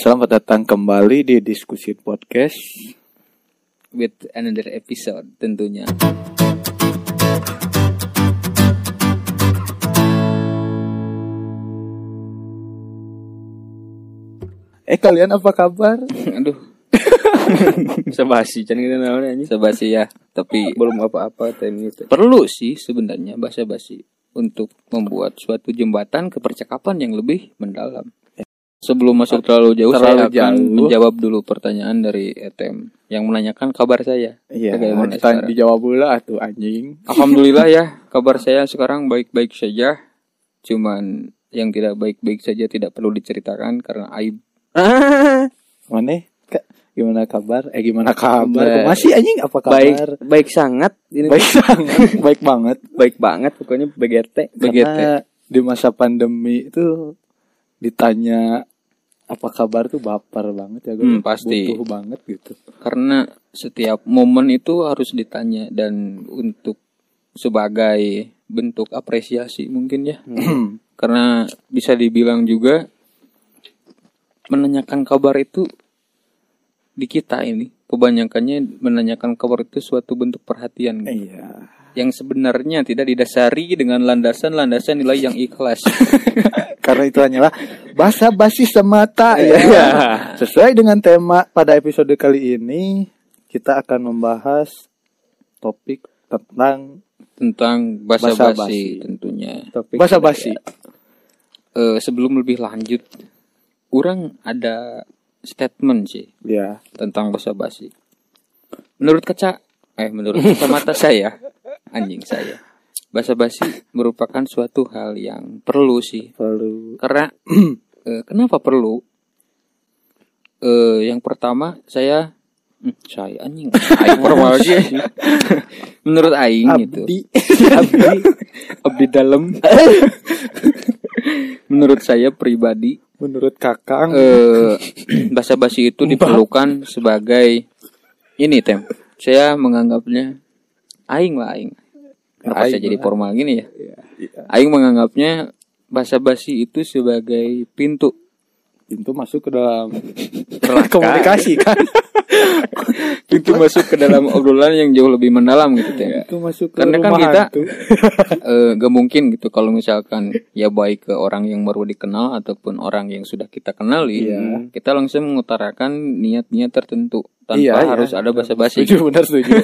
Selamat datang kembali di diskusi podcast. with another episode tentunya. Eh kalian apa kabar? Aduh. Sebasi jangan kita namanya Sebasi Iya. ya, tapi belum apa-apa time itu. Perlu sih sebenarnya bahasa basi untuk membuat suatu jembatan ke percakapan yang lebih mendalam. Sebelum masuk terlalu jauh Terlalu saya akan jauh. menjawab dulu pertanyaan dari ETM yang menanyakan kabar saya. Iya, Bagaimana tanya- sekarang? dijawab dulu lah tuh anjing. Alhamdulillah ya, kabar saya sekarang baik-baik saja. Cuman yang tidak baik-baik saja tidak perlu diceritakan karena aib Mana? Ka- Gimana kabar? Eh gimana kabar? Kabar. Masih anjing apa kabar? Baik, baik sangat. Ini baik, Baik banget, baik banget. banget pokoknya BGT. begitu. Karena di masa pandemi itu ditanya apa kabar tuh baper banget ya gue. Hmm, pasti. Butuh banget gitu. Karena setiap momen itu harus ditanya dan untuk sebagai bentuk apresiasi mungkin ya. Hmm. Karena bisa dibilang juga menanyakan kabar itu di kita ini kebanyakannya menanyakan kabar itu suatu bentuk perhatian Iya. yang sebenarnya tidak didasari dengan landasan-landasan nilai yang ikhlas. Karena itu hanyalah bahasa basi semata ya. Sesuai dengan tema pada episode kali ini kita akan membahas topik tentang tentang Basa-basi. basa-basi tentunya. Topik bahasa basi. Eh, sebelum lebih lanjut, orang ada statement sih Ya. tentang bahasa basi. Menurut kaca, eh menurut kacamata saya, anjing saya, bahasa basi merupakan suatu hal yang perlu sih. Perlu Karena eh, kenapa perlu? Eh, yang pertama saya, Hmm, saya anjing, aing formal sih. menurut aing gitu. abdi. Abdi Abdi dalam Menurut saya pribadi Menurut Kakang eh Bahasa basi itu diperlukan sebagai Ini Tem Saya menganggapnya Aing lah Aing Kenapa Aing saya jadi lah. formal gini ya Iya. Aing menganggapnya Bahasa basi itu sebagai pintu pintu masuk ke dalam komunikasi kan. Pintu masuk ke dalam obrolan yang jauh lebih mendalam gitu Tem Pintu masuk ke Karena kan rumah kita- hantu. eh gak mungkin gitu kalau misalkan ya baik ke orang yang baru dikenal ataupun orang yang sudah kita kenali Iya. kita langsung mengutarakan niat-niat tertentu tanpa Iya, iya. harus ada basa-basi Setuju benar setuju.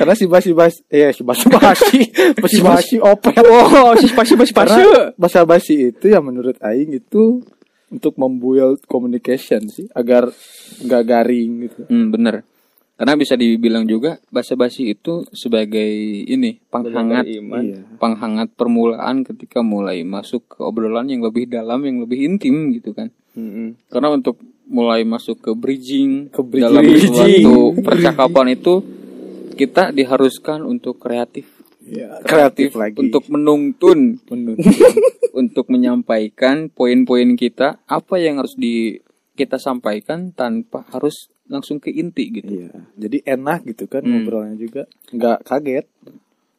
Karena si basi basi eh si basi basi si basi opel. Oh, si spasi spasi spasi. Karena bahasa basi itu ya menurut Aing itu untuk membuild communication sih agar nggak garing gitu. Hmm, bener karena bisa dibilang juga basa-basi itu sebagai ini penghangat Iya. penghangat permulaan ketika mulai masuk ke obrolan yang lebih dalam yang lebih intim gitu kan Karena untuk mulai masuk ke bridging, Ke bridging. dalam Bridging. suatu percakapan itu kita diharuskan untuk kreatif, Iya, kreatif, lagi untuk menuntun, menuntut. untuk menyampaikan poin-poin kita apa yang harus di kita sampaikan tanpa harus langsung ke inti gitu. Iya. Jadi enak gitu kan Hmm. ngobrolnya juga nggak kaget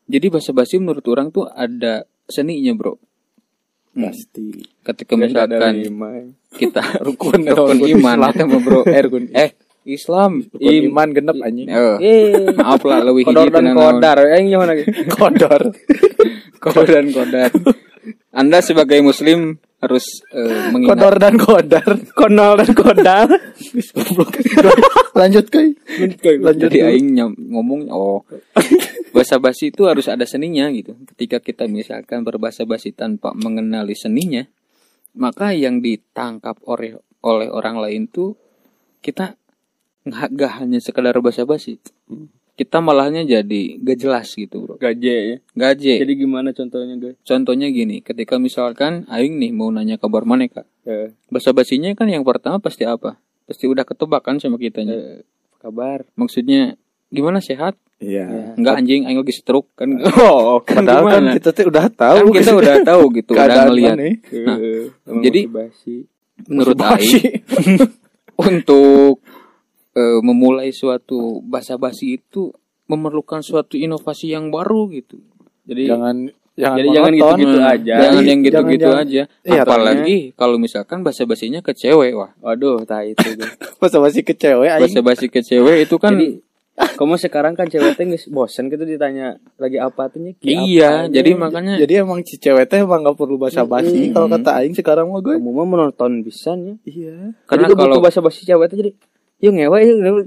Jadi bahasa basi menurut orang tuh ada seninya bro. Hmm. pasti. Ketika misalkan ya. kita Rukun rukun iman, atau bro, Eh, rukun, eh Islam, rukun im- iman Iya. genep anjing. Eh. Eh, Maaf lah lebih kodor dan kodar. Eh, Aing gimana? Kodor. Kodor dan kodar. Anda sebagai muslim harus eh, mengingat Kodor dan kodar. Konol dan kodal. Lanjut kai. Lanjut jadi dulu. aing nyam- ngomong oh bahasa basi itu harus ada seninya gitu. Ketika kita misalkan berbahasa basi tanpa mengenali seninya, maka yang ditangkap oleh oleh orang lain tuh kita nggak nggak hanya sekedar bahasa basi. Kita malahnya jadi gak jelas gitu, Bro. Gaje ya. Iya. Gaje. Jadi gimana contohnya, guys? Contohnya gini, ketika misalkan aing nih mau nanya kabar maneka. Eh, Bahasa basinya kan yang pertama pasti apa? Pasti udah ketebak kan sama kitanya. eh, apa kabar? Maksudnya gimana sehat? Iya. Enggak anjing, aing lagi stroke kan. Oh, Kan padahal kan gimana? kita tuh udah kan tahu kita udah tahu gitu, udah keadaan ngelihat. mana. Nah, Eh, emang jadi- masih basi. Menurut Basi. aing untuk eh, memulai suatu basa basi itu memerlukan suatu inovasi yang baru gitu. Jadi Jangan Jangan Jadi jangan Hmm. monoton. gitu-gitu aja. Jangan Jadi yang gitu-gitu jangan- aja. Iya, Apalagi kalau misalkan basa-basinya ke cewek, wah. Waduh, tai itu. Guys. Masa masih ke cewek aing. Basa-basi ke cewek itu kan Jadi kamu sekarang kan cewek teh geus bosen gitu ditanya lagi apa tuh nya? Ki, iya, apa jadi nya? makanya Jadi emang si cewek teh emang gak perlu basa-basi kalau kata aing sekarang mah gue. kamu mah menonton pisan ya. Iya. karena Jadi kalau kalau basa-basi cewek teh jadi yuk ngewe yuk ngewe."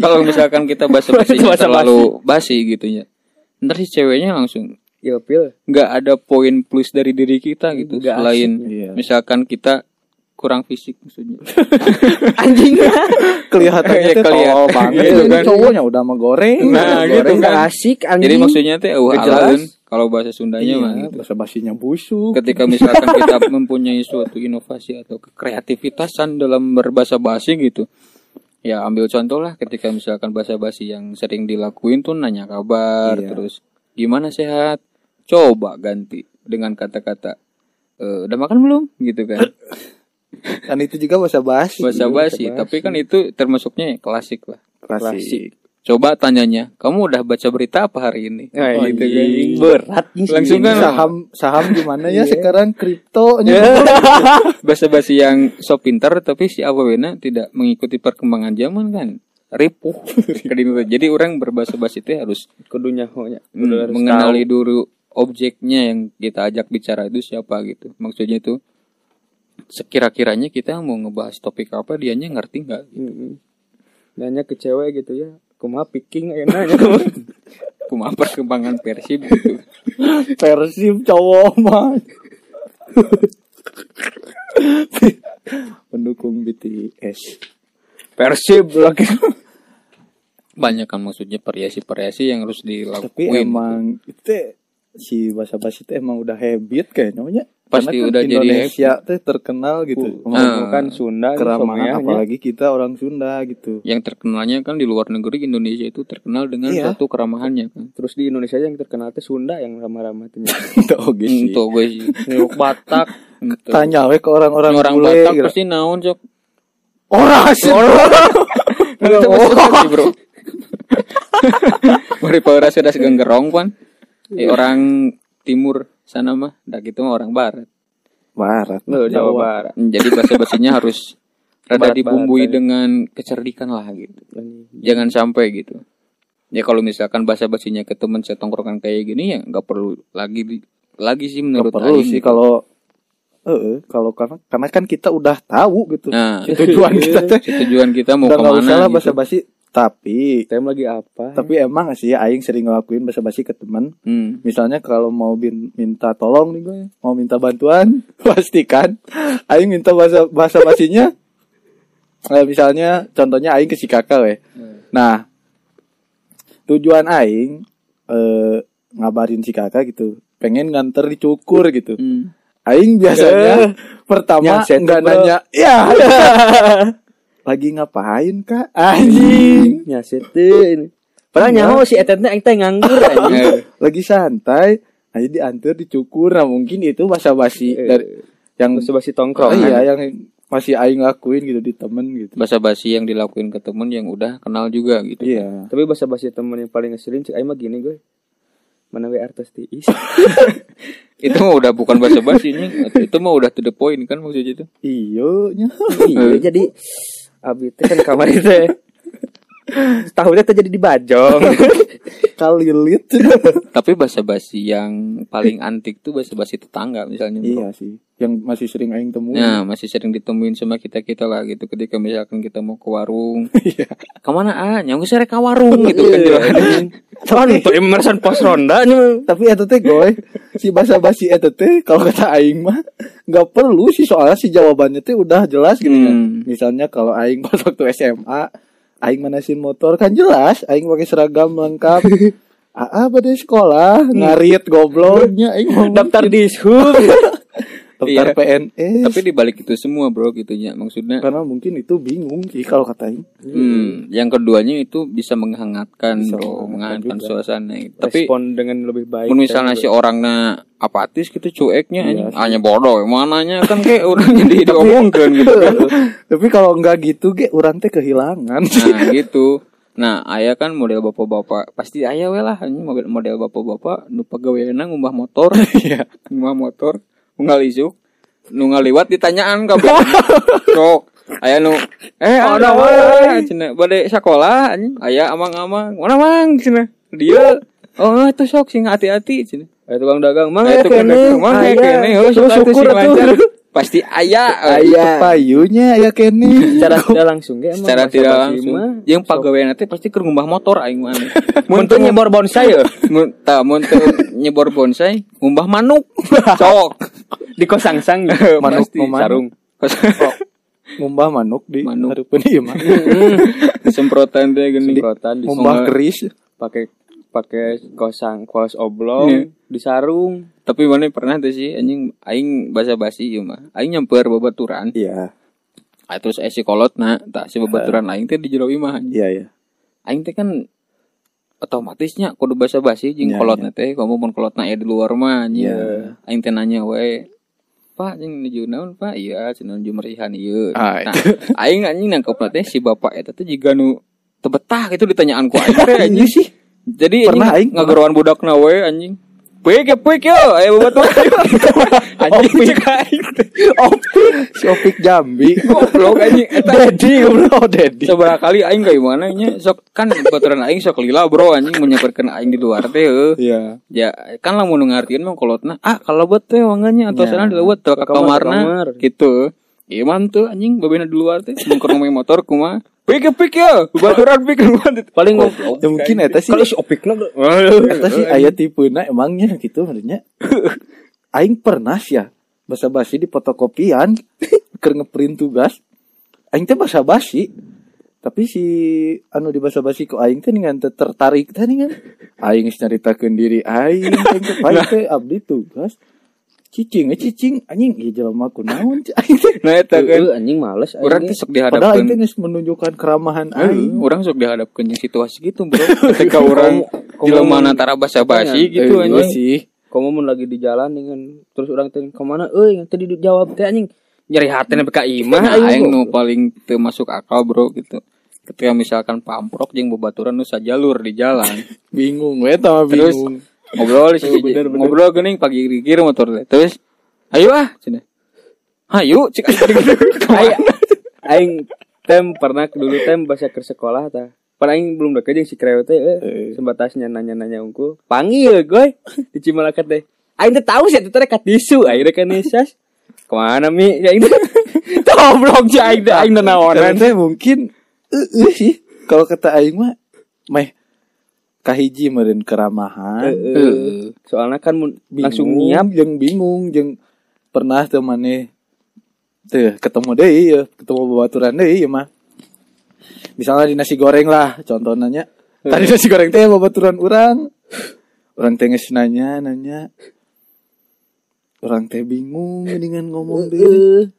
kalau misalkan kita basa-basinya terlalu basi gitu ya. Ntar si ceweknya langsung Ya pil. nggak ada poin plus dari diri kita gitu Nggak selain Iya. misalkan kita kurang fisik maksudnya. Anjing. Kelihatannya Iya, teh kelihatan. tolol banget. Gitu Ini kan. cowoknya udah mah goreng. Nah, gitu Goreng nggak kan. asik anjing. Jadi maksudnya teh eueuh Nggak jelas. alaun kalau bahasa Sundanya mah Iya, gitu. basa-basinya busuk. Ketika misalkan kita mempunyai suatu inovasi atau kreativitasan dalam berbahasa basi gitu. Ya ambil contoh lah ketika misalkan bahasa basi yang sering dilakuin tuh nanya kabar Iya. terus gimana sehat? Coba ganti dengan kata-kata "Eh, udah makan belum? gitu kan. Kan itu juga Iya, basa-basi. bahasa basi tapi kan itu termasuknya klasik lah Klasik. coba tanyanya kamu udah baca berita apa hari ini Nah, Oh, gitu, iya. kan. Berat nih langsung kan saham saham gimana ya sekarang kripto bahasa basi yang sok pintar tapi si awewena tidak mengikuti perkembangan zaman kan ripuh Kadang gitu. jadi orang berbahasa basi itu harus kudunya honya. Hmm. mm, mengenali dulu objeknya yang kita ajak bicara itu siapa gitu maksudnya itu sekira-kiranya kita mau ngebahas topik apa dianya ngerti nggak Hmm, Nanya ke cewek gitu ya. Kumaha picking ayeuna nanya kumaha. kumaha perkembangan persib gitu persib cowok mah pendukung BTS Persib lagi. gitu. banyak kan maksudnya variasi-variasi yang harus dilakuin tapi emang itu si bahasa basi itu emang udah habit kayaknya namanya Pasti Karena kan udah jadi Indonesia tuh terkenal gitu Ah. kan Sunda keramahan someanya. apalagi kita orang Sunda gitu yang terkenalnya kan di luar negeri Indonesia itu terkenal dengan Iya. satu keramahannya kan Terus di Indonesia yang terkenal teh Sunda yang ramah-ramah Gitu. teh. itu oke Iya sih untuk gue gitu sih Nyuk Batak. Untuk tanya we ke orang-orang orang bule, Batak gitu. pasti naon cok orang asli Itu pasti oh. pasti, bro Mari Paura sudah segenggerong pan Eh, Iya. orang timur sana mah dah gitu mah orang barat Hmm, barat Loh, Jawa Barat. jadi bahasa basinya harus rada Barat-barat, dibumbui ya. dengan kecerdikan lah gitu jangan sampai gitu ya kalau misalkan bahasa basinya ke teman setongkrongan kayak gini ya nggak perlu lagi di- lagi sih nggak menurut perlu Aing. sih kalau eh kalau karena karena kan kita udah tahu gitu Nah. Si tujuan kita teh Si tujuan kita mau udah nggak usah kemana lah gitu. basa-basi tapi Tem lagi apa? tapi emang sih aing sering ngelakuin basa-basi ke teman Hmm. misalnya kalau mau bin- minta tolong nih gue mau minta bantuan pastikan aing minta bahasa bahasa basinya eh, misalnya contohnya aing ke si kakak weh nah tujuan aing eh, ngabarin si kakak gitu pengen nganter dicukur gitu Hmm. Aing biasanya Eh, pertama nyaset, nggak bro. nanya, ya lagi ngapain kak? Anjing, Iya. Nyasetin. Padahal Ah, nyaho si Etet teh aing teh nganggur anjing. Eh, lagi santai, aja diantar dicukur, nah mungkin itu bahasa basi Eh, dari yang Terus basi oh, tongkrong. kan? iya yang masih aing lakuin gitu di temen gitu. bahasa basi yang dilakuin ke temen yang udah kenal juga gitu. Iya. Tapi bahasa basi temen yang paling ngeselin cek aing mah gini gue. Mana we artis tiis. Itu mah udah bukan bahasa basinya, itu mah udah to the point kan maksudnya itu. Iyo nya. Iya, jadi abi teh kan kamar teh. Tahunnya teh jadi dibajong. Kalilit. Tapi bahasa basi yang paling antik tuh bahasa basi tetangga misalnya. bro. iya sih. Yang masih sering aing temuin. Nah, masih sering ditemuin sama kita-kita lah gitu ketika misalkan kita mau ke warung. Iya. Kemana ah? Nyanggu sere ke warung gitu kan. Tapi Tuh emerson Iya, pos ronda nya. tapi eta teh goy si basa basi eta teh kalau kata aing mah nggak perlu sih soalnya si jawabannya teh udah jelas gitu kan Hmm. misalnya kalau aing pas waktu SMA aing manasin motor kan jelas aing pakai seragam lengkap Aa pada sekolah Hmm. ngarit gobloknya aing mau Daftar di Shub. daftar Iya. PNS Tapi dibalik itu semua bro gitunya maksudnya. karena mungkin itu bingung sih kalau kata aing Hmm, yang keduanya itu bisa menghangatkan, Iya. Bisa bro, menghangatkan menghangatkan juga. suasana. Gitu. Tapi Respon dengan lebih baik. eh, pun gitu. misalnya si orangnya apatis gitu cueknya Iya anjing. hanya bodoh, mananya kan kayak orang jadi diomongkan gitu. kan. tapi kalau nggak gitu ge urang teh kehilangan Nah, gitu. Nah, ayah kan model bapak-bapak. Pasti ayah we lah anjing model model bapak-bapak nu pagaweana ngumbah motor. Iya. ngumbah motor, unggal isuk, nu ngaliwat ditanyaan kabeh. Sok. Aya nu eh Mana, ada woi? wae cenah bade sekolah anjing. Aya amang-amang. Mana mang cenah? Dia Oh, itu sok sing hati-hati cenah. Eh tukang dagang mang eh Aya tukang kene, dagang mang eh aya. kene. Oh, Terus syukur syukur sing atuh. lancar. Pasti eh, aya. Aya. Itu payunya ya Kenny. Secara tidak langsung ya emang Secara bahasa tidak basi langsung. mah. Yang pagawean nanti pasti keur ngumbah motor aing mah. Mun teu nyebor bonsai ya eh. Mun tah mun teu nyebor bonsai, ngumbah manuk. Cok. di kosang-sang Manuk Pasti, kumaha? sarung. Ngumbah manuk di Manuk. Iya, hareupeun ieu mah. Semprotan teh gini. Semprotan di Ngumbah keris. pakai pakai kosang kos oblong Iya. disarung Tapi mana pernah tuh sih anjing aing basa-basi ieu mah. Aing nyamper babaturan. Iya, Ah, Terus eh si kolotna, tah si babaturan aing teh di jero imah. anjing. iya iya. Aing teh kan otomatisnya kudu basa-basi jeung Iya, kolotna teh, kamu mun kolotna ya di luar mah anjing. Iya. Aing teh nanya wae. Pak, jeung nuju naon, Pak? Iya, cenah nuju merihan ieu. Ah, Nah, aing anjing nangkepna teh si bapak eta teh jiga nu teu betah gitu ditanyaanku aing teh anjing sih. Jadi Pernah aing, anjing ngageroan budakna we anjing. Puik ya puik yo, ayo babat wae. Anjing cek aing teh. Si Opik Jambi. Goblok anjing eta Dedi, goblok Dedi. Seberapa kali aing kayak mana nya sok kan baturan aing sok lila bro anjing menyebarkan aing di luar teh heuh. Iya. Ya kan lamun nu ngartiin mah kolotna ah kalau buat teh wangannya atau Ya. sana dilewat tuh ke Kamar, kamar. kamarna gitu. Ieu mah tuh anjing babena di luar teh mungkin ngomong motor kumaha. Pik ya, pik ya baturan pik banget. paling Ya mungkin eta sih. kalau si opikna ge- Eta sih aya tipeuna emangnya gitu maksudnya. Aing pernah sih ya basa basi di fotokopian keur ngeprint tugas. Aing teh basa basi. Tapi si anu di basa basi ku aing teh dengan teu tertarik teh dengan aing geus nyaritakeun diri aing aing teh pae teh abdi tugas. Cicing eh, cicing anjing ieu jelema kunaon cik aing teh. Nah eta kan Eh, anjing males urang anjing. teh sok Padahal aing teh dihadapkeun. geus menunjukkan keramahan Heuh, aing. Urang sok dihadapkeun jeung situasi gitu bro. Ketika orang Komo- jelema komo- antara basa-basi Tanya, gitu eh, anjing. sih. kamu mun lagi di jalan dengan terus orang tanya kemana eh yang tadi dijawab teh anjing nyeri hati nih beka imah Nah, aing goblok. nu paling teu masuk akal bro gitu. Ketika misalkan pamprok jeung bebaturan nu sajalur di jalan. Bingung we tah mah Terus bingung. ngobrol sih ngobrol geuning pagi gigir motor teh. Terus ayo ah cenah. Hayu cik aing gitu. Aing- aing tem pernah dulu tem bahasa ke sekolah ta pernah aing belum deket jeung si kreo teh eh, sebatasnya nanya-nanya unggul panggil gue di Cimalakat teh aing teh tahu sih itu dekat disu aing teh kanisas kemana mi ya aing teh goblok si aing teh aing teh Karena naonan teh mungkin eh eh sih kalau kata aing mah meh kahiji meureun keramahan Eh, eh, soalnya kan mun bingung, langsung nyiap jeung bingung jeung pernah teu maneh teh ketemu deui ya ketemu babaturan deui ya mah misalnya di nasi goreng lah contohnya tadi nasi goreng teh babaturan urang orang teh geus nanya nanya orang teh bingung dengan ngomong deui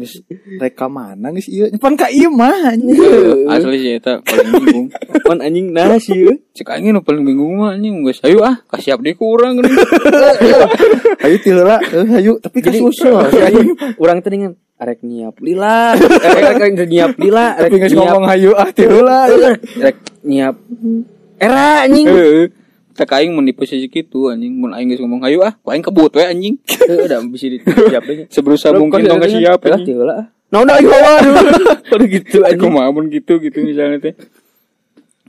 Eh, Geus reka mana geus ieu nyepan ka ieu mah anjing. Asli sih eta paling bingung. mun anjing nah sih Cik aing nu paling bingung mah anjing geus ayo ah kasiap deui ku urang geuning. Ayo tiheula, eh, ayo tapi kasusul. Anjing, orang teh dengan arek nyiap lila Eh, arek arek nyiap lila Tapi arek geus nyiap ngomong hayu ah tiheula. arek nyiap era anjing Heeh. Teka aing mun di posisi kitu anjing mun aing geus ngomong hayu ah, ku aing kebut we anjing. Heeh, udah bisa disiap aja. Seberusaha mungkin tong kasiap. Lah anjing. tieu lah. Naon aing lawan. Udah gitu Aku anjing. mah mun gitu gitu misalnya teh.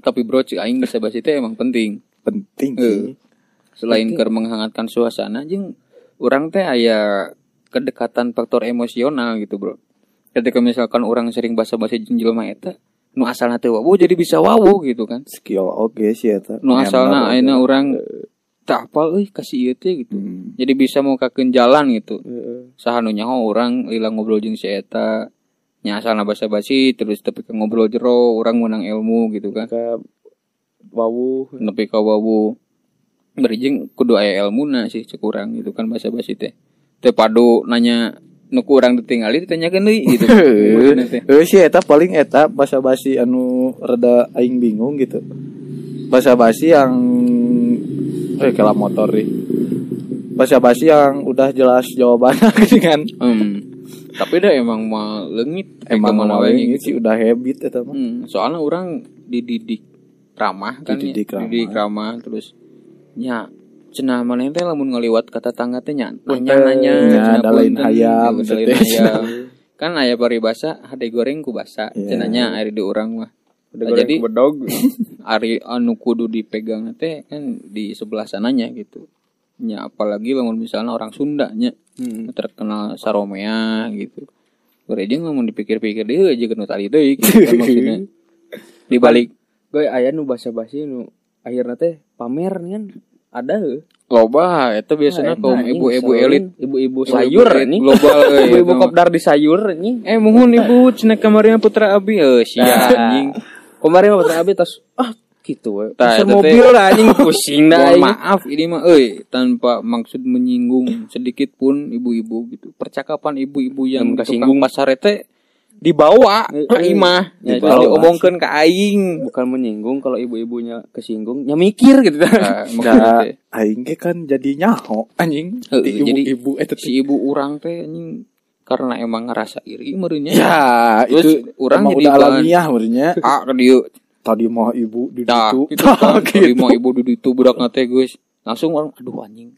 Tapi bro, cik aing bahasa basi teh emang penting. Penting sih. Selain keur menghangatkan suasana jeung urang teh aya kedekatan faktor emosional gitu, Bro. Ketika misalkan orang sering basa-basi jeung jelema eta, nu asalna teu wawu jadi bisa wawu gitu kan. Skill oge sih eta. Nu asalna Member ayeuna oge. urang tak hafal euy kasih ieu teh gitu. Hmm. Jadi bisa mukakeun jalan gitu. Heeh. sahanunya nyaho orang hilang ngobrol jeung si eta nya asalna basa-basi terus tapi ke ngobrol jero orang menang ilmu gitu kan Ka wawu. nepi ka wawu bari jeung kudu aya ilmuna sih cek urang gitu kan basa-basi teh teh padu nanya nu ku urang ditinggali ditanyakeun deui gitu Maksudna teh. Eh sih eta paling eta bahasa basi anu rada aing bingung gitu. Bahasa basi yang eh kelam motor nih. Bahasa basi yang udah jelas jawabannya gitu kan. dengan Hmm. tapi dah emang mah emang leungit Eh, kemana mau wae gitu. ini sih udah habit eta mah. Hmm, soalnya orang dididik ramah kan Dididik ya? ramah. dididik ramah terus ya cenah maneh teh lamun ngaliwat kata tangga teh nya Punten. nanya nanya Ya, da lain hayam, iya, gitu dalain maksudnya. hayam kan aya paribasa hade goreng ku basa Iya. cenah nya air di urang mah Udah Nah, goreng jadi- bedog. ari anu kudu dipegang teh kan di sebelah sananya gitu nya apalagi lamun misalnya orang Sunda nya Hmm. terkenal saromea gitu Gereja ngomong dipikir-pikir dia aja kena tadi itu gitu, maksudnya di balik Gue aya nu basa-basi nu akhirnya teh pamer kan ada heuh. loba itu biasanya Nah, kaum anjing, ibu-ibu selain elit ibu-ibu sayur Ibu-ibu Eh, ini. global euy, Ibu-ibu itu mah. kopdar di sayur ini. eh mohon ibu cina kamarnya putra abi eh sia Nah. anjing Kemarin mah Abi tas ah gitu we. Tah, Pasar eta teh- mobil lah anjing pusing dah Mohon aing. maaf Nah, ini mah euy tanpa maksud menyinggung sedikit pun ibu-ibu gitu percakapan ibu-ibu yang Hmm, tukang kesinggung. pasar teh dibawa Eh, ka eh, imah ya, Dibawa. dibawa. diomongkeun ka aing Bukan menyinggung kalau ibu-ibunya kesinggung, ya mikir gitu. Nah, maksudnya Da, teh, Ya, aing ge kan jadi nyaho anjing. Heeh, Di jadi- ibu-ibu eta si ibu urang teh anjing karena emang ngerasa iri meureunnya Ya, Terus itu urang emang jadi udah bahan. alamiah meureunnya. ah ke dieu Tadi mah ibu di Nah, situ. gitu kan. Gitu. Kalau mau ibu duduk itu budak nate guys. Langsung orang aduh anjing.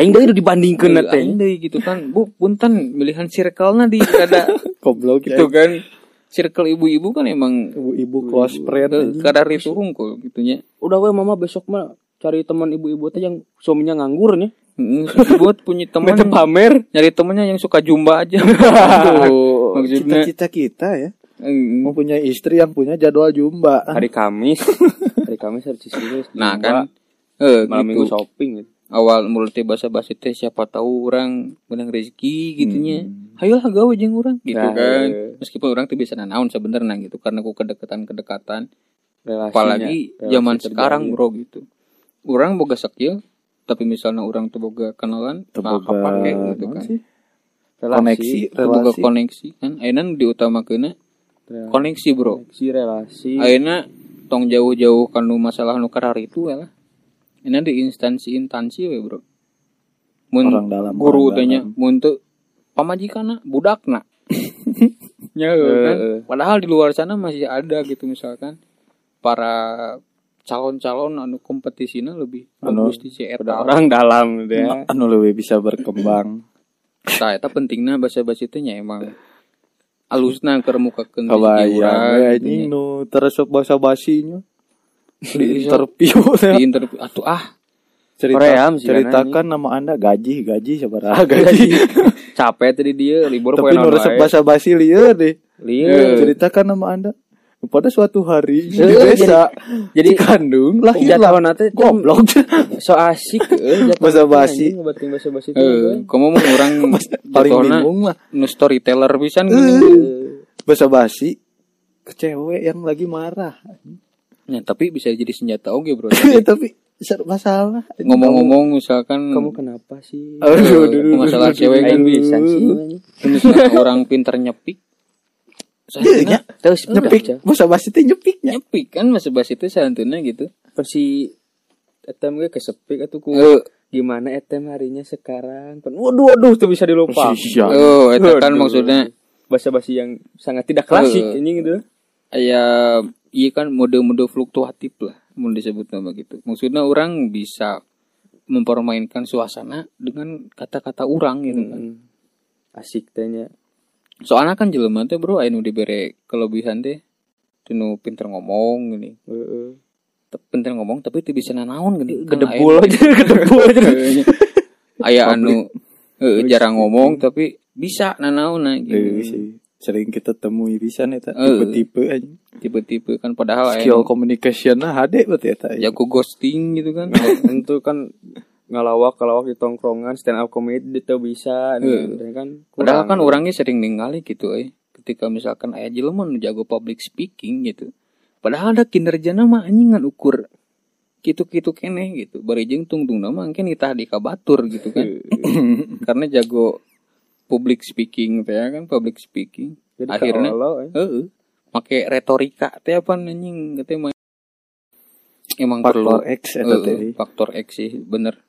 Aing deui dibandingkeun na teh. Aing deui gitu kan. Bu punten pilihan circle-na di kada Goblok gitu gitu. kan. Circle ibu-ibu kan emang Ibu-ibu close friend anjing. kada ritu hungkul gitunya. Udah we mama besok mah cari teman ibu-ibu teh yang suaminya nganggur nih. Heeh, buat punya teman Mereka pamer. nyari temennya yang suka jumba aja. Tuh, Maksudnya- cita-cita kita ya Heeh. mempunyai istri yang punya jadwal jumba. Hari Kamis. Ah. Hari Kamis harus disuruh. nah kan eh malam gitu. minggu shopping gitu. awal mulai bahasa basi teh siapa tahu orang menang rezeki gitunya hayolah gawe jeung urang gitu Hmm. Nah, kan iya. meskipun orang tuh biasa naon sebenarnya gitu karena ku kedekatan kedekatan Relasinya, apalagi relasi zaman kerja, sekarang iya. bro gitu orang boga skill tapi misalnya orang tuh boga kenalan Teu nah, boga kapake gitu naon kan sih? Relasi, Koneksi, Teu boga relasi. koneksi kan ayeuna diutamakeunna relasi, koneksi bro koneksi relasi. ayeuna tong jauh-jauh kan nu masalah nu karar itu ya lah ini di instansi instansi we bro mun Orang dalam, guru orang tanya dalam. mun teu pamajikanna budakna ya Eh, kan? eh. padahal di luar sana masih ada gitu misalkan para calon-calon anu kompetisinya lebih Anu, bagus di CR Udah orang dalam gitu ya. Anu lebih bisa berkembang. Nah, eta pentingna basa-basi teh nya emang alusna keur mukakeun iya. rezeki urang, Kabayang we gitu anjing nya. nu terus basa basinya di Iya. interview di interview atuh ah cerita, Korea sih, kan Ah, ceritakan nama anda gaji gaji sabaraha gaji Capek tadi dia libur Iya. tapi poe nu resep basa basi lieu deh ya. Ya, Lieu. ceritakan nama anda pada suatu hari di Heeh, desa jadi- jadi kandung lahirlah Jatuh nanti goblok so asik eh, jatuhna Basa-basi. anjing, ngebatin basa-basi teh, eh eh. kamu mau orang paling jatuhna bingung mah nu storyteller pisan gini. Eh, basa basi ke cewek yang lagi marah Nah, tapi bisa jadi senjata oge, Bro. tapi ser- masalah Ngomong-ngomong misalkan kamu kenapa sih eh, Aduh, aduh, aduh, masalah aduh, cewek kan aduh. bisa sih misalkan orang pintar nyepik. Iya, nya. Santuna terus nyepik basa basi teh nyepiknya nyepik kan Mas Bas itu santuna gitu. versi etem gue kesepik atuh ku Eh, gimana etem harinya sekarang Kan, waduh waduh tuh bisa dilupa eh eta kan Aduh. maksudnya basa-basi yang sangat tidak klasik Eh. ini gitu aya iya kan mode-mode fluktuatif lah mun disebut nama gitu. Maksudnya orang bisa mempermainkan suasana dengan kata-kata orang gitu kan. asik tehnya Soalnya kan jelema teh bro aya nu dibere kelebihan teh tinu pinter ngomong gini. Heeh. Te- pinter ngomong tapi teu bisa nanaon gini. Kan kedebul aja kedebul aja Aya anu eh, jarang ngomong tapi bisa nanaon Eh, gitu. sih. sering kita temui bisa nih Eh. tipe-tipe aja Tiba-tiba kan padahal aya skill communication nah HD berarti eta nu jago ghosting gitu kan. itu kan ngalawak ngalawak di tongkrongan stand up comedy itu bisa Heeh. dan kan Padahal kurang. kan orangnya sering ningali gitu eh. Ketika misalkan aya jelema nu jago public speaking gitu. Padahal ada kinerjana mah anjingan kan, ukur gitu-gitu keneh gitu. Bari jeung tungtung nama mungkin kita di kabatur gitu kan. Karena jago public speaking teh ya kan public speaking. Jadi akhirnya- kalau eh. Heeh. Make retorika teh apa anjing teh mah emang faktor perlu X eta Eh, teh faktor X sih bener.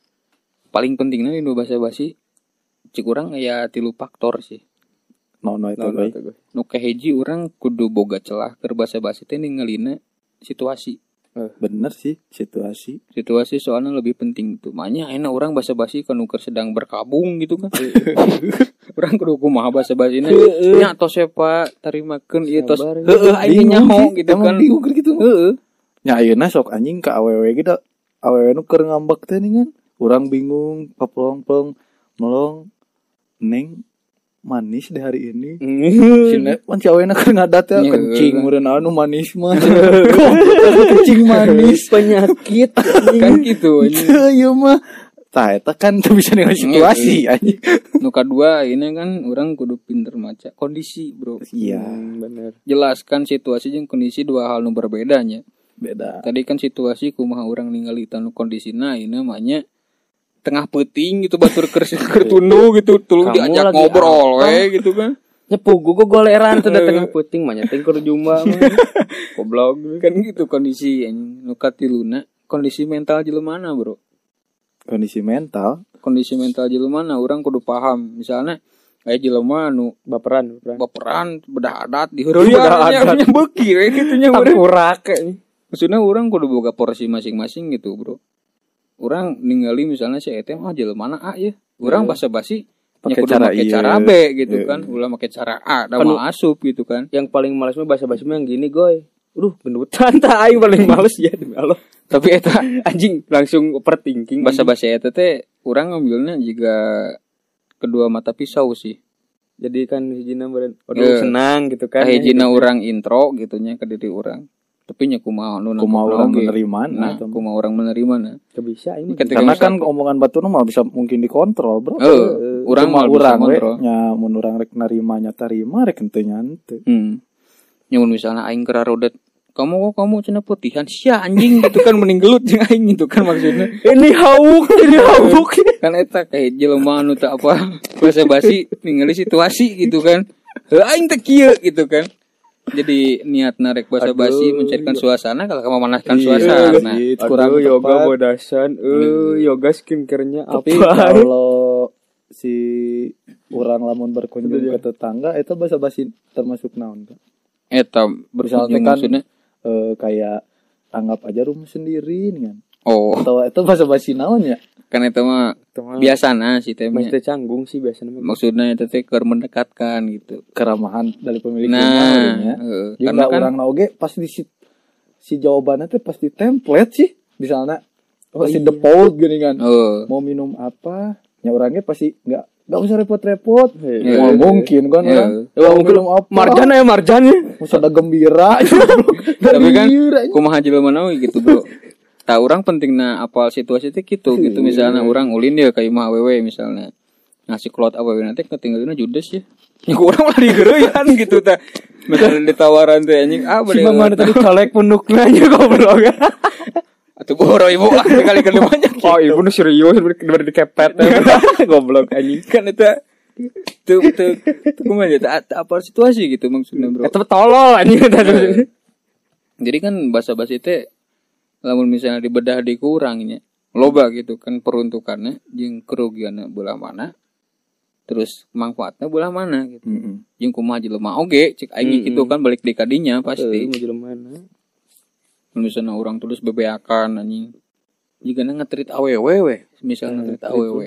Paling pentingnya di bahasa basi cik urang ya tilu faktor sih. no no itu Nah, baik kata gue. nu kahiji urang kudu boga celah keur basa-basi teh ningalina situasi bener sih situasi situasi soalnya lebih penting tuh makanya enak orang basa basi kan nuker sedang berkabung gitu kan orang kudu kumaha basa basi nya nya tos sepa tarimakeun ieu tos Sabar, heeh aing nyaho gitu Emang kan bingung keur gitu heeh nya ayeuna sok anjing ke aww gitu aww nu keur ngambek teh ningan urang bingung papelong-pelong melong neng manis di hari ini Cina pan si awena keur ngadat ya Iya. kencing meureun naon nu manis mah. kencing manis. penyakit kan gitu anjing. Teu ieu mah. Tah eta kan teu bisa Iya, dengan situasi anjing. nu kedua ini kan orang kudu pinter maca kondisi bro Iya, Hmm, bener jelaskan situasi jeung kondisi dua hal nu berbedanya beda. tadi kan situasi kumaha orang ningali tanu kondisi nah ini namanya tengah peting gitu batur keur keur tundu gitu tulung Kamu diajak lagi ngobrol we gitu kan nyepu gue goleran tuh datang puting mah nyeting ke jumba mah. goblok kan gitu kondisi anjing nu katiluna kondisi mental mana bro Kondisi mental kondisi mental mana orang kudu paham misalnya kayak jelema nu baperan baperan baperan bedah adat eh, gitu, diheureun Bedah adat. beuki we kitu nya urang. tengkurak eh. Maksudnya orang kudu boga porsi masing-masing gitu bro Orang ningali misalnya si Etem ah jalan mana A ya Orang bahasa basi Iya. Pakai cara iya. cara B gitu kan Ulah pakai cara A dan mau asup gitu kan yang paling males mah bahasa basi mah yang gini goy Aduh, gendutan tak aing paling males ya demi Allah. Tapi eta Anjing langsung overthinking. bahasa basi Gitu. eta teh Orang ngambilnya jika kedua mata pisau sih jadi kan hijina beren aduh Eh. senang gitu kan. ya, Kan iya, hijina orang intro gitunya ke diri orang Tapi nya kumaha kumaha nu nangkep urang lagi. menerima Nah, kumaha orang menerima nah. ya. Gak bisa ini. Ketika Karena misalkan- kan omongan batu nu mah bisa mungkin dikontrol, Bro. Eh, orang Cuma mah bisa urang we ngontrol. nya mun urang rek narima nya tarima rek henteu nya henteu. Hmm. Nyumun misalnya aing kera rodet. Kamu kok kamu cina putihan sia anjing gitu kan mending gelut jeung aing gitu kan maksudnya. Ini hauk, ini hauk. Kan eta kayak jelema anu tak apa bahasa basi ningali situasi gitu kan. Heuh aing teh kieu gitu kan. Jadi niat narik bahasa basi mencairkan suasana kalau kamu memanaskan suasana. iya. It kurang Kurang yoga tepat. bodasan, eh yoga skincare-nya Tapi apa? kalau si orang lamun berkunjung ke tetangga itu bahasa basi termasuk naon Kak? Eta Misalnya berkunjung kan maksudnya. eh, kayak anggap aja rumah sendiri nih kan. Oh, Atau itu bahasa basi naon ya? kan eta mah Ah. biasana sih temnya. Masih canggung sih biasanya. Maksudnya eta teh keur mendekatkan gitu. Keramahan dari pemilik rumah Nah, ya. heeh. Jadi karena nggak kan orang naoge pasti si, si jawabannya tuh pasti template sih misalnya Oh iya. pasti default gini kan. heeh. Mau minum apa? Ya orangnya pasti nggak nggak usah repot-repot. Iya. Wah, mungkin kan Iya. orang. Mau minum apa? Marjan ya Marjan ya. Masa ada gembira tapi kan Gembira, iya. kumaha jelema naon we gitu bro tak orang pentingna apal situasi teh gitu gitu misalnya orang ulin ya kayak mah awewe misalnya ngasih klot awewe nanti ketinggalan judes ya ya orang malah digeroyan gitu ta misalnya ditawaran teh anjing ah bade Si Maman tadi colek punuknya aja goblok. atuh boro ibu ah kali ke rumahnya Oh, ibu nu serius ber di kepet. Goblok anjing. kan eta tuh tuh tuh kumaha ya tak apal situasi gitu maksudnya bro Eta tolol anjing tadi. jadi kan bahasa basi teh lamun misalnya dibedah dikurangnya loba gitu kan peruntukannya jeung kerugiannya belah mana terus manfaatnya belah mana gitu Mm-mm. jeung kumaha jelema oge cek aing gitu kan balik di kadinya pasti mana? Lamun misalnya orang tulis bebeakan anjing jika ngetrit aww we misalnya Nah, ngetrit aww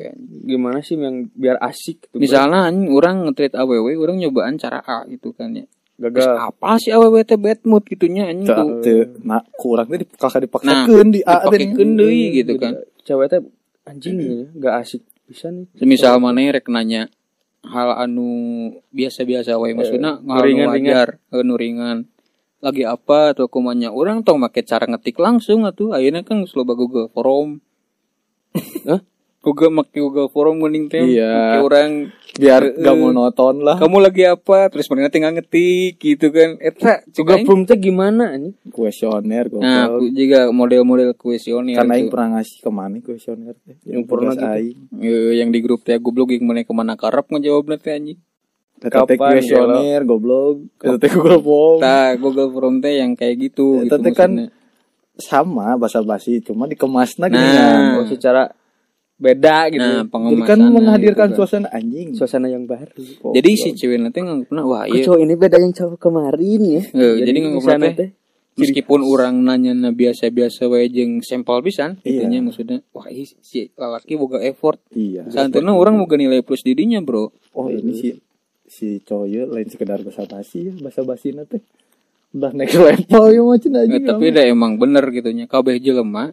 Gimana sih yang biar asik gitu. misalnya anjing orang ngetrit aww orang nyobaan cara A gitu kan ya Terus Gagal. apa sih aww teh bad mood gitunya anjing Teu- tuh teu- nah kurang teh dipak- kakak dipaksakeun di A teh dipakekeun deui gitu kan Cewek teh anjing ya, gak asik bisa nih. Semisal mana rek nanya hal anu biasa-biasa Iya. wae maksudnya hal anu ringan-ringan. wajar, eh, nu ringan. Lagi apa atau kumanya orang tong make cara ngetik langsung atuh ayeuna kan geus loba Google Form. Hah? Google make Google Form mending teh Iya. Ah. make orang biar Eh, gak monoton lah kamu lagi apa terus mereka tinggal ngetik gitu kan eta Juga juga belum teh gimana anjing? kuesioner gue nah iya, ku- juga model-model kuesioner karena aing tuh. pernah ngasih ke mana kuesioner teh Yang pernah tugas gitu. aing Eh, yang di grup teh goblok yang mana kemana karep ngejawabna teh anjing Eta teh Kapan, kuesioner goblok Eta teh Google Form Tah Google Form teh yang kayak gitu Eta teh gitu Oh. kan maksudnya. sama bahasa basi cuma dikemasna gini Nah. kan. Oh, secara beda gitu. Nah, jadi pengemasan. kan menghadirkan gitu kan. suasana anjing Suasana yang baru. Jadi si cewek nanti nggak pernah wah iya. ini beda yang cowok kemarin ya. Eh, jadi nggak misalnya pernah teh. meskipun orang nanya "Nah, biasa-biasa wae jeung sampel pisan Iya. itunya maksudnya wah ini si lalaki boga effort Iya. santuna orang boga nilai plus di dinya bro Oh iya. ini si si cowok ieu lain sekedar bahasa basi ya bahasa basi teh udah next level ya macam aja. Eh, tapi da emang bener gitunya kabeh jelema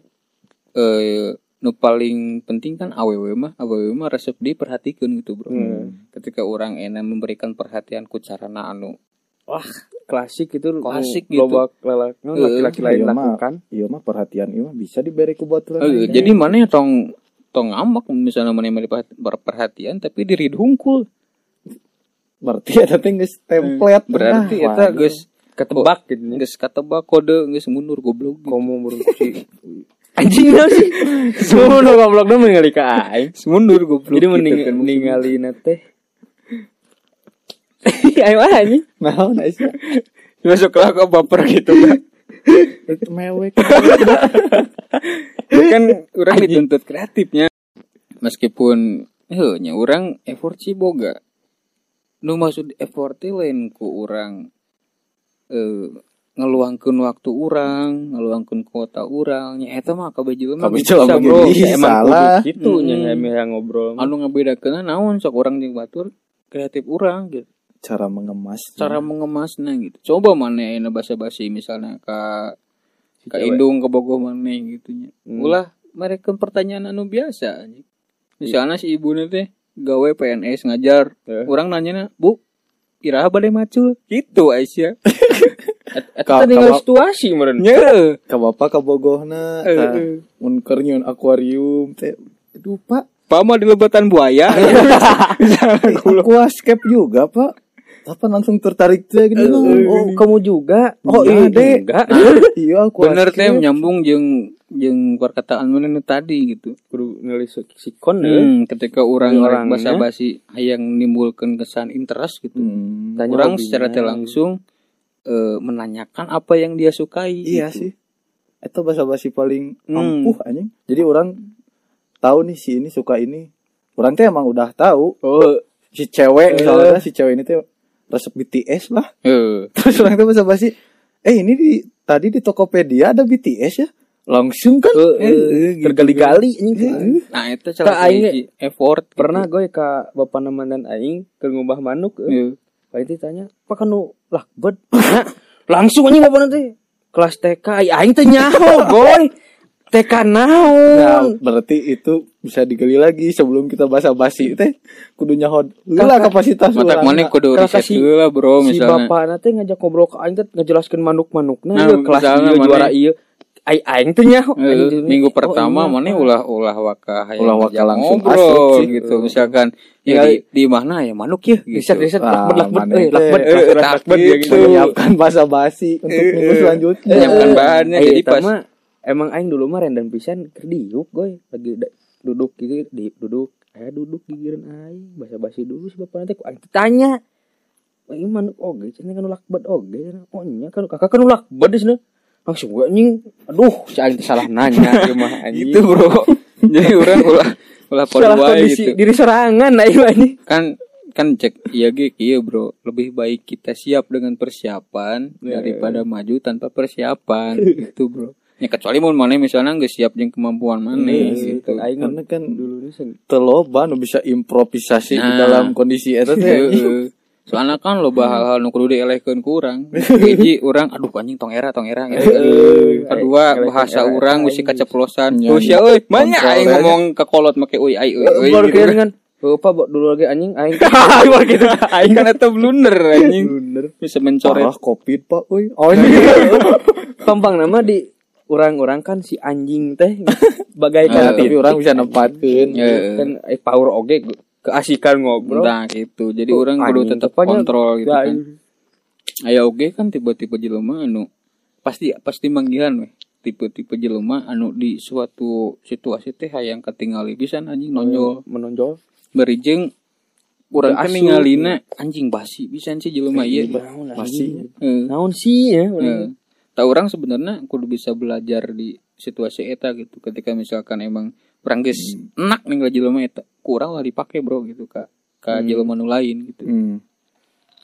eh nu paling penting kan aww mah aww mah resep diperhatikan gitu bro Hmm. ketika orang enak memberikan perhatian ku carana anu klasik itu Klasik nu gitu. loba lalak- nu Heeh. laki-laki lain Iya, mah. lakukan Iya mah perhatian iya mah bisa diberi ku baturan. Eh, jadi mana ya tong tong ngambek misalnya mana yang berperhati- berperhatian tapi diri hungkul berarti ada teh geus template Hmm, berarti nah, ya, eta waduh. geus Ah, ketebak gitu nya. geus katebak kode geus mundur goblok gitu. komo murung si anjing naon sih semua nu goblok nu ningali ka aing mundur goblok gitu kan, jadi mending ningali teh ayo ah, anjing Naon Aisyah? masuk lah ke baper gitu kan Itu mewek. kan Eh, orang dituntut kreatifnya meskipun heuh nya orang effort sih boga nu maksud effort teh lain ku orang eh ngeluangkeun waktu orang ngeluangkeun kuota orang nya eta mah kabeh mah Kabeh jelema bisa, bro. Ih, geus. Ya, emang salah. kudu gitu nya Mm. emang yang ngobrol mah. anu ngabedakeun naon sok orang jeung batur kreatif orang gitu Cara mengemas. iya. cara mengemasnya gitu coba mana ini basa basi misalnya ke ke cewek. indung ke bogoh mana gitunya Hmm. ulah mereka pertanyaan anu biasa anjing. misalnya si ibu teh gawe PNS ngajar Eh. orang nanya bu iraha bade macul gitu Aisyah Ka- Kita tinggal ka- situasi meren nya ka bapak ka bogohna Eh, ka eh. mun keur nyieun akuarium teh aduh Pak pama di lebatan buaya Eh, aquascape juga Pak apa langsung tertarik teh Eh, gitu oh kamu juga oh Iya, iya Dek. enggak iya aquascape bener teh nyambung jeung jeung perkataan mana nu tadi gitu kudu nilai sikon eh. Hmm, ketika orang Orangnya. orang basa basi yang menimbulkan kesan interest gitu Hmm, Tanya orang hobinya. secara tidak langsung eh, menanyakan apa yang dia sukai. gitu. iya sih itu bahasa basi paling Hmm. ampuh anjing jadi orang tahu nih si ini suka ini orang teh emang udah tahu oh si cewek misalnya si cewek ini teh resep BTS lah Eh, terus orang teh bahasa basi eh ini di tadi di Tokopedia ada BTS ya langsung kan Eh, eh, gitu tergali-gali kan. anjing. Eh, nah itu salah Kak, aing- satu effort gitu. pernah gue ke bapak naman dan aing ke ngubah manuk eh. Eh, Pak itu tanya apa kan nu lakbet Nah, langsung anjing bapak nanti kelas TK Ay, aing teh nyaho goy TK Nah, naon berarti itu bisa digali lagi sebelum kita basa-basi teh kudunya hod lah kapasitas Matak urang. mana kudu Karena riset si- dulu lah bro si Oh, misalnya. bapak nanti ngajak ngobrol ke aing teh ngejelaskan manuk-manuk nah, Nah, ieu kelas misalnya ieu mana- juara ieu Ay, aing teh nyaho Eh, Aing teh- minggu oh, pertama iya. mana ulah ulah waka hayang Ulah waka ngajak langsung ngobrol asik sih. Oh. gitu misalkan ya, Tinggal- di, di mana ya manuk ya riset gitu. riset Ah, lakbet lakbet mana eh teh. lakbet Eh, lakbet, tak lakbet gitu. ya gitu menyiapkan basa-basi untuk minggu selanjutnya menyiapkan Ya, bahannya Eh, jadi eta pas mah, emang aing dulu mah rendan pisan keur diuk goy lagi da- duduk gitu di duduk aya duduk gigireun aing basa-basi dulu si bapak nanti ku aing tanya Ini manuk oge, cenah kan ulak bed oge, cenah. oh nya kan kakak kan ulak bed di sana. Langsung gue anjing, aduh, si aing teh salah nanya ieu mah anjing. gitu bro jadi orang ulah ulah salah pada kondisi gitu diri sorangan aing mah anjing. kan kan cek iya ge iya bro lebih baik kita siap dengan persiapan Iya, daripada maju tanpa persiapan gitu bro ya kecuali mau mana misalnya nggak siap dengan kemampuan mana Iya, gitu Aing karena kan dulu nih sen- teloba nu bisa improvisasi di Nah. dalam kondisi eta Iya. teh Heeh. Iya. soalnya kan lo Iya. hal-hal nu kudu dielehkeun ku urang hiji urang aduh anjing tong era tong era gitu kan. kedua Elehkeun bahasa era, urang aing. mesti keceplosan Iya, Tuh iya. sia euy banyak Kontrol aing aja. ngomong ke kolot make euy ai euy euy Baru gitu kira kan. dengan, "Bapak bawa dulu lagi anjing, aing." gitu aing kan eta blunder anjing bisa mencoret parah covid pak uy oh ini Gampang nama di orang-orang kan si anjing teh bagai Nah, kan tapi orang bisa nempatin Heeh. kan eh, power oge gu- keasikan ngobrol. Iya, Nah gitu. Jadi Tuh, orang kudu anjing, Ya, tetap tepanya kontrol gitu gak- kan. Aya oge kan tiba-tiba jelema anu pasti pasti manggilan weh. Tipe-tipe jelema anu di suatu situasi teh hayang ketingali pisan anjing Oh, iya. nonjol. menonjol. Berijeng urang Teu kan asup. ningalina anjing basi pisan sih jelema ieu. masih Heeh. iya. Naon sih ya? Heeh. Tah orang sebenarnya kudu bisa belajar di situasi eta gitu. Ketika misalkan emang orang geus Hmm. enak ninggal jelema eta, Hmm. Iya. kurang lah dipake bro gitu ka ka jelema nu lain gitu. hmm.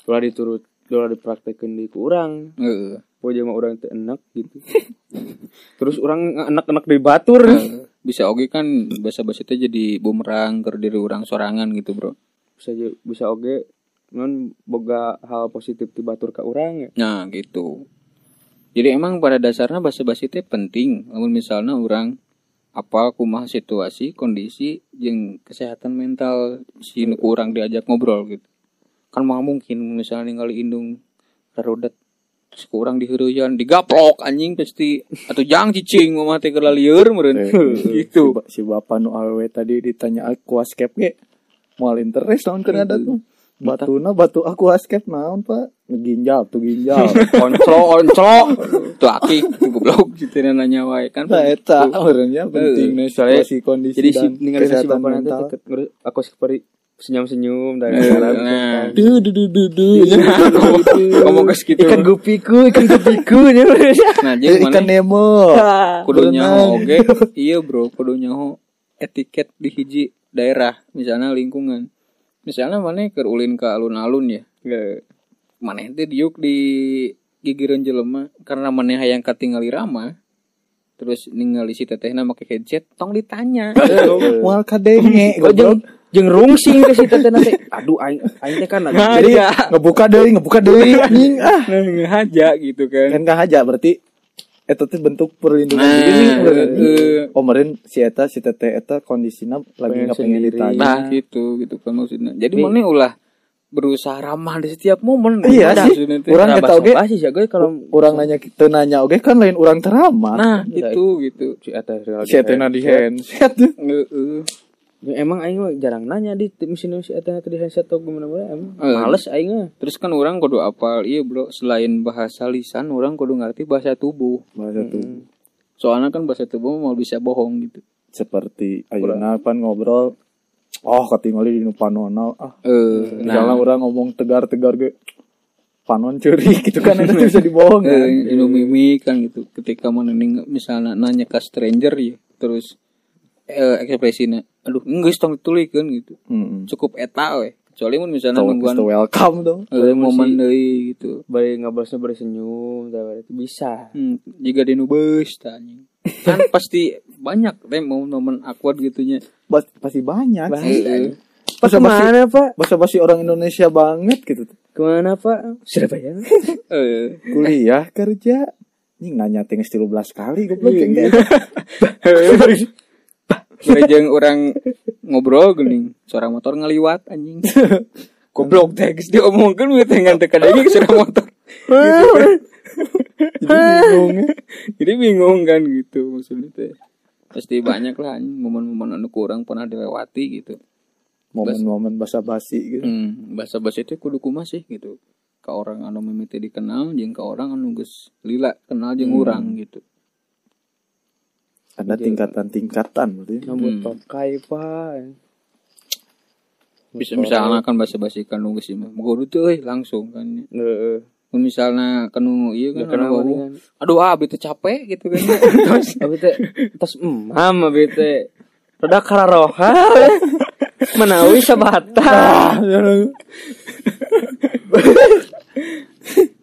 Ulah diturut dolar dipraktekin di ku orang Heeh. pokoknya mah orang teh enak gitu terus orang enak-enak di batur bisa oke kan bahasa basi teh jadi bumerang ke diri orang sorangan gitu bro bisa je- bisa oge non boga hal positif di batur ke orang ya nah gitu jadi emang pada dasarnya bahasa basi teh penting namun misalnya orang apa kumaha situasi kondisi jeung kesehatan mental si nu kurang diajak ngobrol gitu kan mah mungkin misalnya ningali indung rarodet terus ku urang diheureuyaan digaplok anjing pasti atau jang cicing mah teh keur lieur Eh, meureun gitu Ba- si bapak nu awewe tadi ditanya aquascape ge moal interest naon keur ada tuh Iya. batuna batu aquascape naon pak ginjal tuh ginjal onclo onclo tuh aki tuh goblok gitu nanya wae kan nah eta orangnya penting nih Eh, soalnya- si kondisi jadi si dan ningali si kesehatan bapak nanti mental teket ngurus aku seperti senyum senyum dari dalam nah duh duh duh duh duh Iya. ngomong ke segitu ikan gupiku ikan gupiku ya nah jadi ikan Nah. mana nemo kudu berenang. nyaho oge iya bro kudu nyaho etiket di hiji daerah misalnya lingkungan misalnya mana keur ulin ke alun-alun ya mana itu diuk di gigireun jelema karena mana hayang katingali rama terus ningali si tetehna make headset tong ditanya moal kadenge Oh, jeng goblok jeng rungsing ke situ teh nanti. Aduh, aing aing teh kan ada. jadi ngebuka deui ngebuka deui anjing ah nah, ngehaja gitu kan kan aja berarti eta teh bentuk perlindungan Nah, diri nih, bener. heeh. Oh, meureun si eta si teteh eta kondisina lagi Pengen nggak pengen sendiri. ditanya. Nah gitu gitu kan maksudnya. Jadi mana ulah berusaha ramah di setiap momen. Iya Gimana sih. maksudnya teh? Orang Raba eta oge sih sih gue kalau orang nanya teu nanya oge kan lain orang terama. Nah gitu gitu. si eta si eta na di handset. Heeh. Emang aing mah jarang nanya di tim sini si eta teh di handset atau gimana mana emang. Eh. Males aing mah. Terus kan orang kudu apal iya bro selain bahasa lisan orang kudu ngerti bahasa tubuh. Bahasa tuh Soalnya kan bahasa tubuh mau bisa bohong gitu. seperti ayeuna pan ngobrol oh katingali di nu panonal ah Eh misalnya orang ngomong tegar-tegar ge panon curi gitu kan itu bisa dibohong kan. eh, ilmu mimik kan gitu. Ketika mana ning- misalnya nanya ke stranger ya terus eh, ekspresinya aduh enggak tong ditulikeun gitu. Heeh. Cukup eta we. Kecuali mun misalnya Tolong nungguan Hmm. welcome dong. eh, momen deui gitu. Bari ngobrolnya bari senyum tah bari bisa. Hmm, jika di nubes tanya. Kan pasti banyak teh momen-momen awkward gitunya. Bas- Pasti banyak. sih. Eh, Pas Kemana Pak? bahasa basi orang Indonesia banget gitu Kemana Pak? Surabaya. eh. kuliah kerja ini nanya ting 13 kali goblok gitu. kayaknya Bari jeung orang ngobrol geuning, suara motor ngaliwat anjing. Goblok teh geus diomongkeun we teh ngan teu kadege suara motor. bingung Jadi bingung kan gitu maksudnya teh. Pasti banyak lah anjing momen-momen anu kurang pernah dilewati gitu. momen-momen basa basi gitu Hmm, bahasa bahasa itu kudu kumas sih gitu. Ke orang anu mimiti dikenal, jeung ke orang anu geus lila kenal jeung urang gitu. ada tingkatan-tingkatan berarti Nyambut tokai Pak. bisa misalnya kan bahasa basi kanu geus mah guru tuh euy langsung kan Heeh. Mun misalnya kanu iya kan anu Kenal mendingan. bau, aduh ah bete capek gitu kan Abi teh tos emam abi teh. Roda kararoha. Menawi sabata.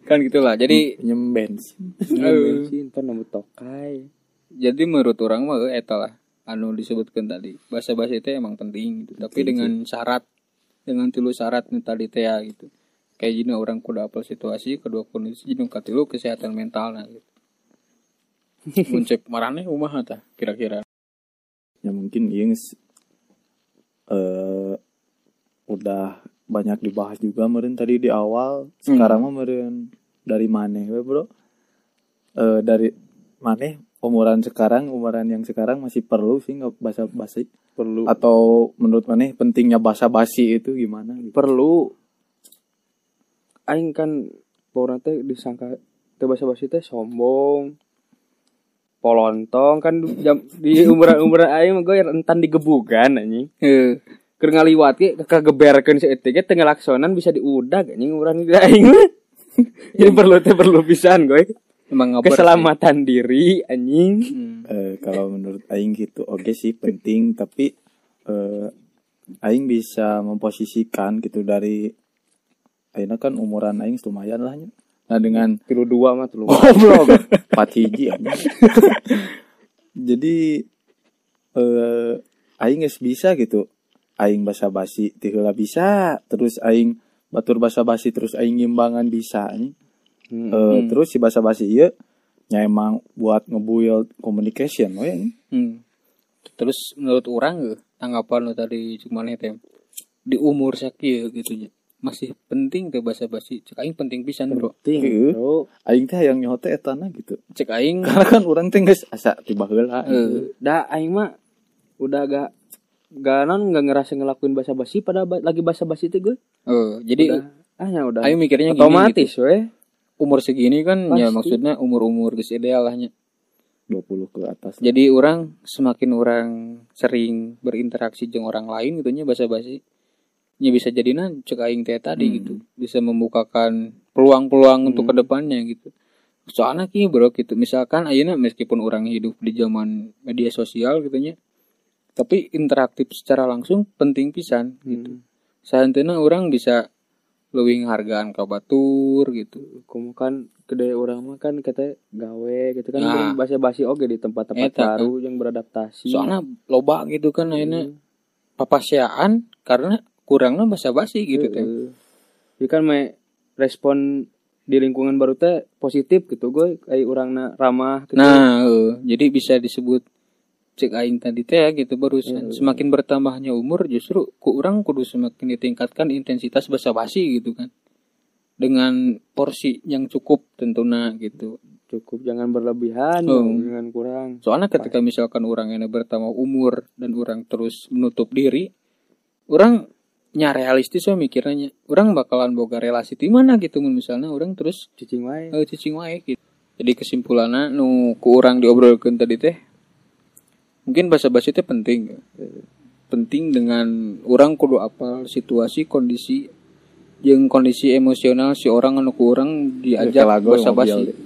kan gitulah jadi nyemben Bensin pan nemu tokai. jadi menurut orang mah euy, eta lah anu disebutkan tadi bahasa basi itu emang penting gitu tapi dengan syarat dengan tilu syarat nih tadi teh ya, gitu kayak gini orang kudu apal situasi kedua kondisi jeung katilu kesehatan mental nah gitu Muncik marane umaha tah kira-kira ya mungkin iya nges- eh udah banyak dibahas juga meren tadi di awal sekarang mah meren dari maneh we, bro Eh, dari maneh umuran sekarang umuran yang sekarang masih perlu sih nggak basa basi Perlu atau menurut maneh pentingnya basa basi itu gimana gitu perlu aing kan orang teh disangka teh bahasa basi teh sombong polontong kan du- jam, di umuran umuran aing mah gue rentan digebukan anjing eh keur ngaliwat ge kageberkeun si eta ge teu ngalaksonan bisa diudag anjing umuran ge aing mah. Ini perlu teh perlu pisan gue emang ngabar sih. keselamatan diri anjing Hmm. Eh, kalau menurut Aing gitu oke sih penting tapi eh, Aing bisa memposisikan gitu dari Aina kan umuran aing lumayan lah nya. Nah dengan tilu dua mah tilu. goblok empat hiji anjing. Jadi eh aing geus bisa gitu. Aing basa basi tiheula bisa, terus aing batur basa basi terus aing ngimbangan bisa anjing. Hmm. Eh, terus si basa basi ieu nya emang buat ngebuild communication we anjing. Hmm. Terus menurut orang eh, tanggapan lo tadi cuma nih tem di umur sakit gitu ya. Masih penting ke bahasa basi. Cek aing penting pisan bro. Heeh. Ting. Bro. aing teh yang nyote etana gitu. Cek aing Karena kan orang teh geus asa tiba heula. eh, Dah aing mah udah agak gak non gak ngerasa ngelakuin basa basi pada ba- lagi basa basi itu gue. eh, jadi Ah ya udah. aing mikirnya gini gitu. otomatis weh. Umur segini kan ya Pasti. maksudnya umur-umur geus ideal lah nya. 20 ke atas. Jadi orang semakin orang sering berinteraksi dengan orang lain gitu nya bahasa basi ya bisa jadi nah cek aing teh tadi Hmm. gitu bisa membukakan peluang-peluang Hmm. untuk kedepannya gitu soalnya ki bro gitu misalkan ayeuna meskipun orang hidup di zaman media sosial gitu nya tapi interaktif secara langsung penting pisan Hmm. gitu Saantena orang bisa leuwih hargaan ka batur gitu Kamu kan gede orang mah kan kata gawe gitu kan Nah. belum basa basi oke di tempat-tempat Eta, baru yang beradaptasi. soalnya loba gitu kan ayeuna Hmm. papasiaan karena kurangnya basa basi gitu teh Heeh. Jadi kan me respon di lingkungan baru teh positif gitu gue kayak orang ramah gitu. Nah, eh, jadi bisa disebut cek aing tadi teh ya, gitu barusan. Semakin bertambahnya umur justru ku orang kudu semakin ditingkatkan intensitas basa basi gitu kan. Dengan porsi yang cukup tentunya gitu. cukup jangan berlebihan Oh. jangan kurang Soalnya ketika misalkan orang ini bertambah umur dan orang terus menutup diri, orang nya realistis ya mikirnya, orang bakalan boga relasi di mana gitu mun misalnya orang terus cicing wae Eh, cicing wae gitu. Jadi kesimpulannya nu ku urang diobrolkeun tadi teh mungkin bahasa basi teh penting. Penting dengan orang kudu apal situasi kondisi jeung kondisi emosional si orang anu ku urang diajak Kelago bahasa mobil basi. deh.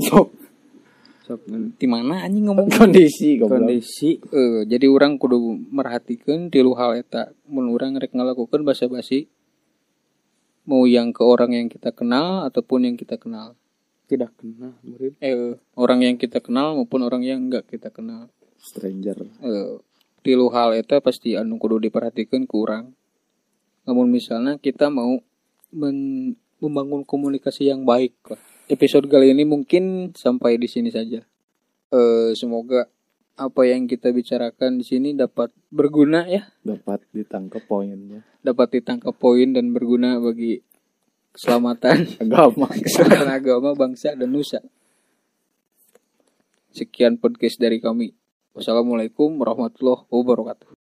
Sok Sok, men. Di mana anjing ngomong? kondisi goblok. kondisi Eh, jadi orang kudu merhatikan tilu hal eta mun urang rek ngalakukeun bahasa basi mau yang ke orang yang kita kenal ataupun yang kita kenal. tidak kena murid eh orang yang kita kenal maupun orang yang enggak kita kenal Stranger. eh tilu hal eta pasti anu kudu diperhatikan kurang namun misalnya kita mau men- membangun komunikasi yang baik lah. episode kali ini mungkin sampai di sini saja eh semoga apa yang kita bicarakan di sini dapat berguna ya Dapat ditangkap poinnya. dapat ditangkap poin dan berguna bagi keselamatan Agama. keselamatan agama bangsa dan nusa sekian podcast dari kami wassalamualaikum warahmatullahi wabarakatuh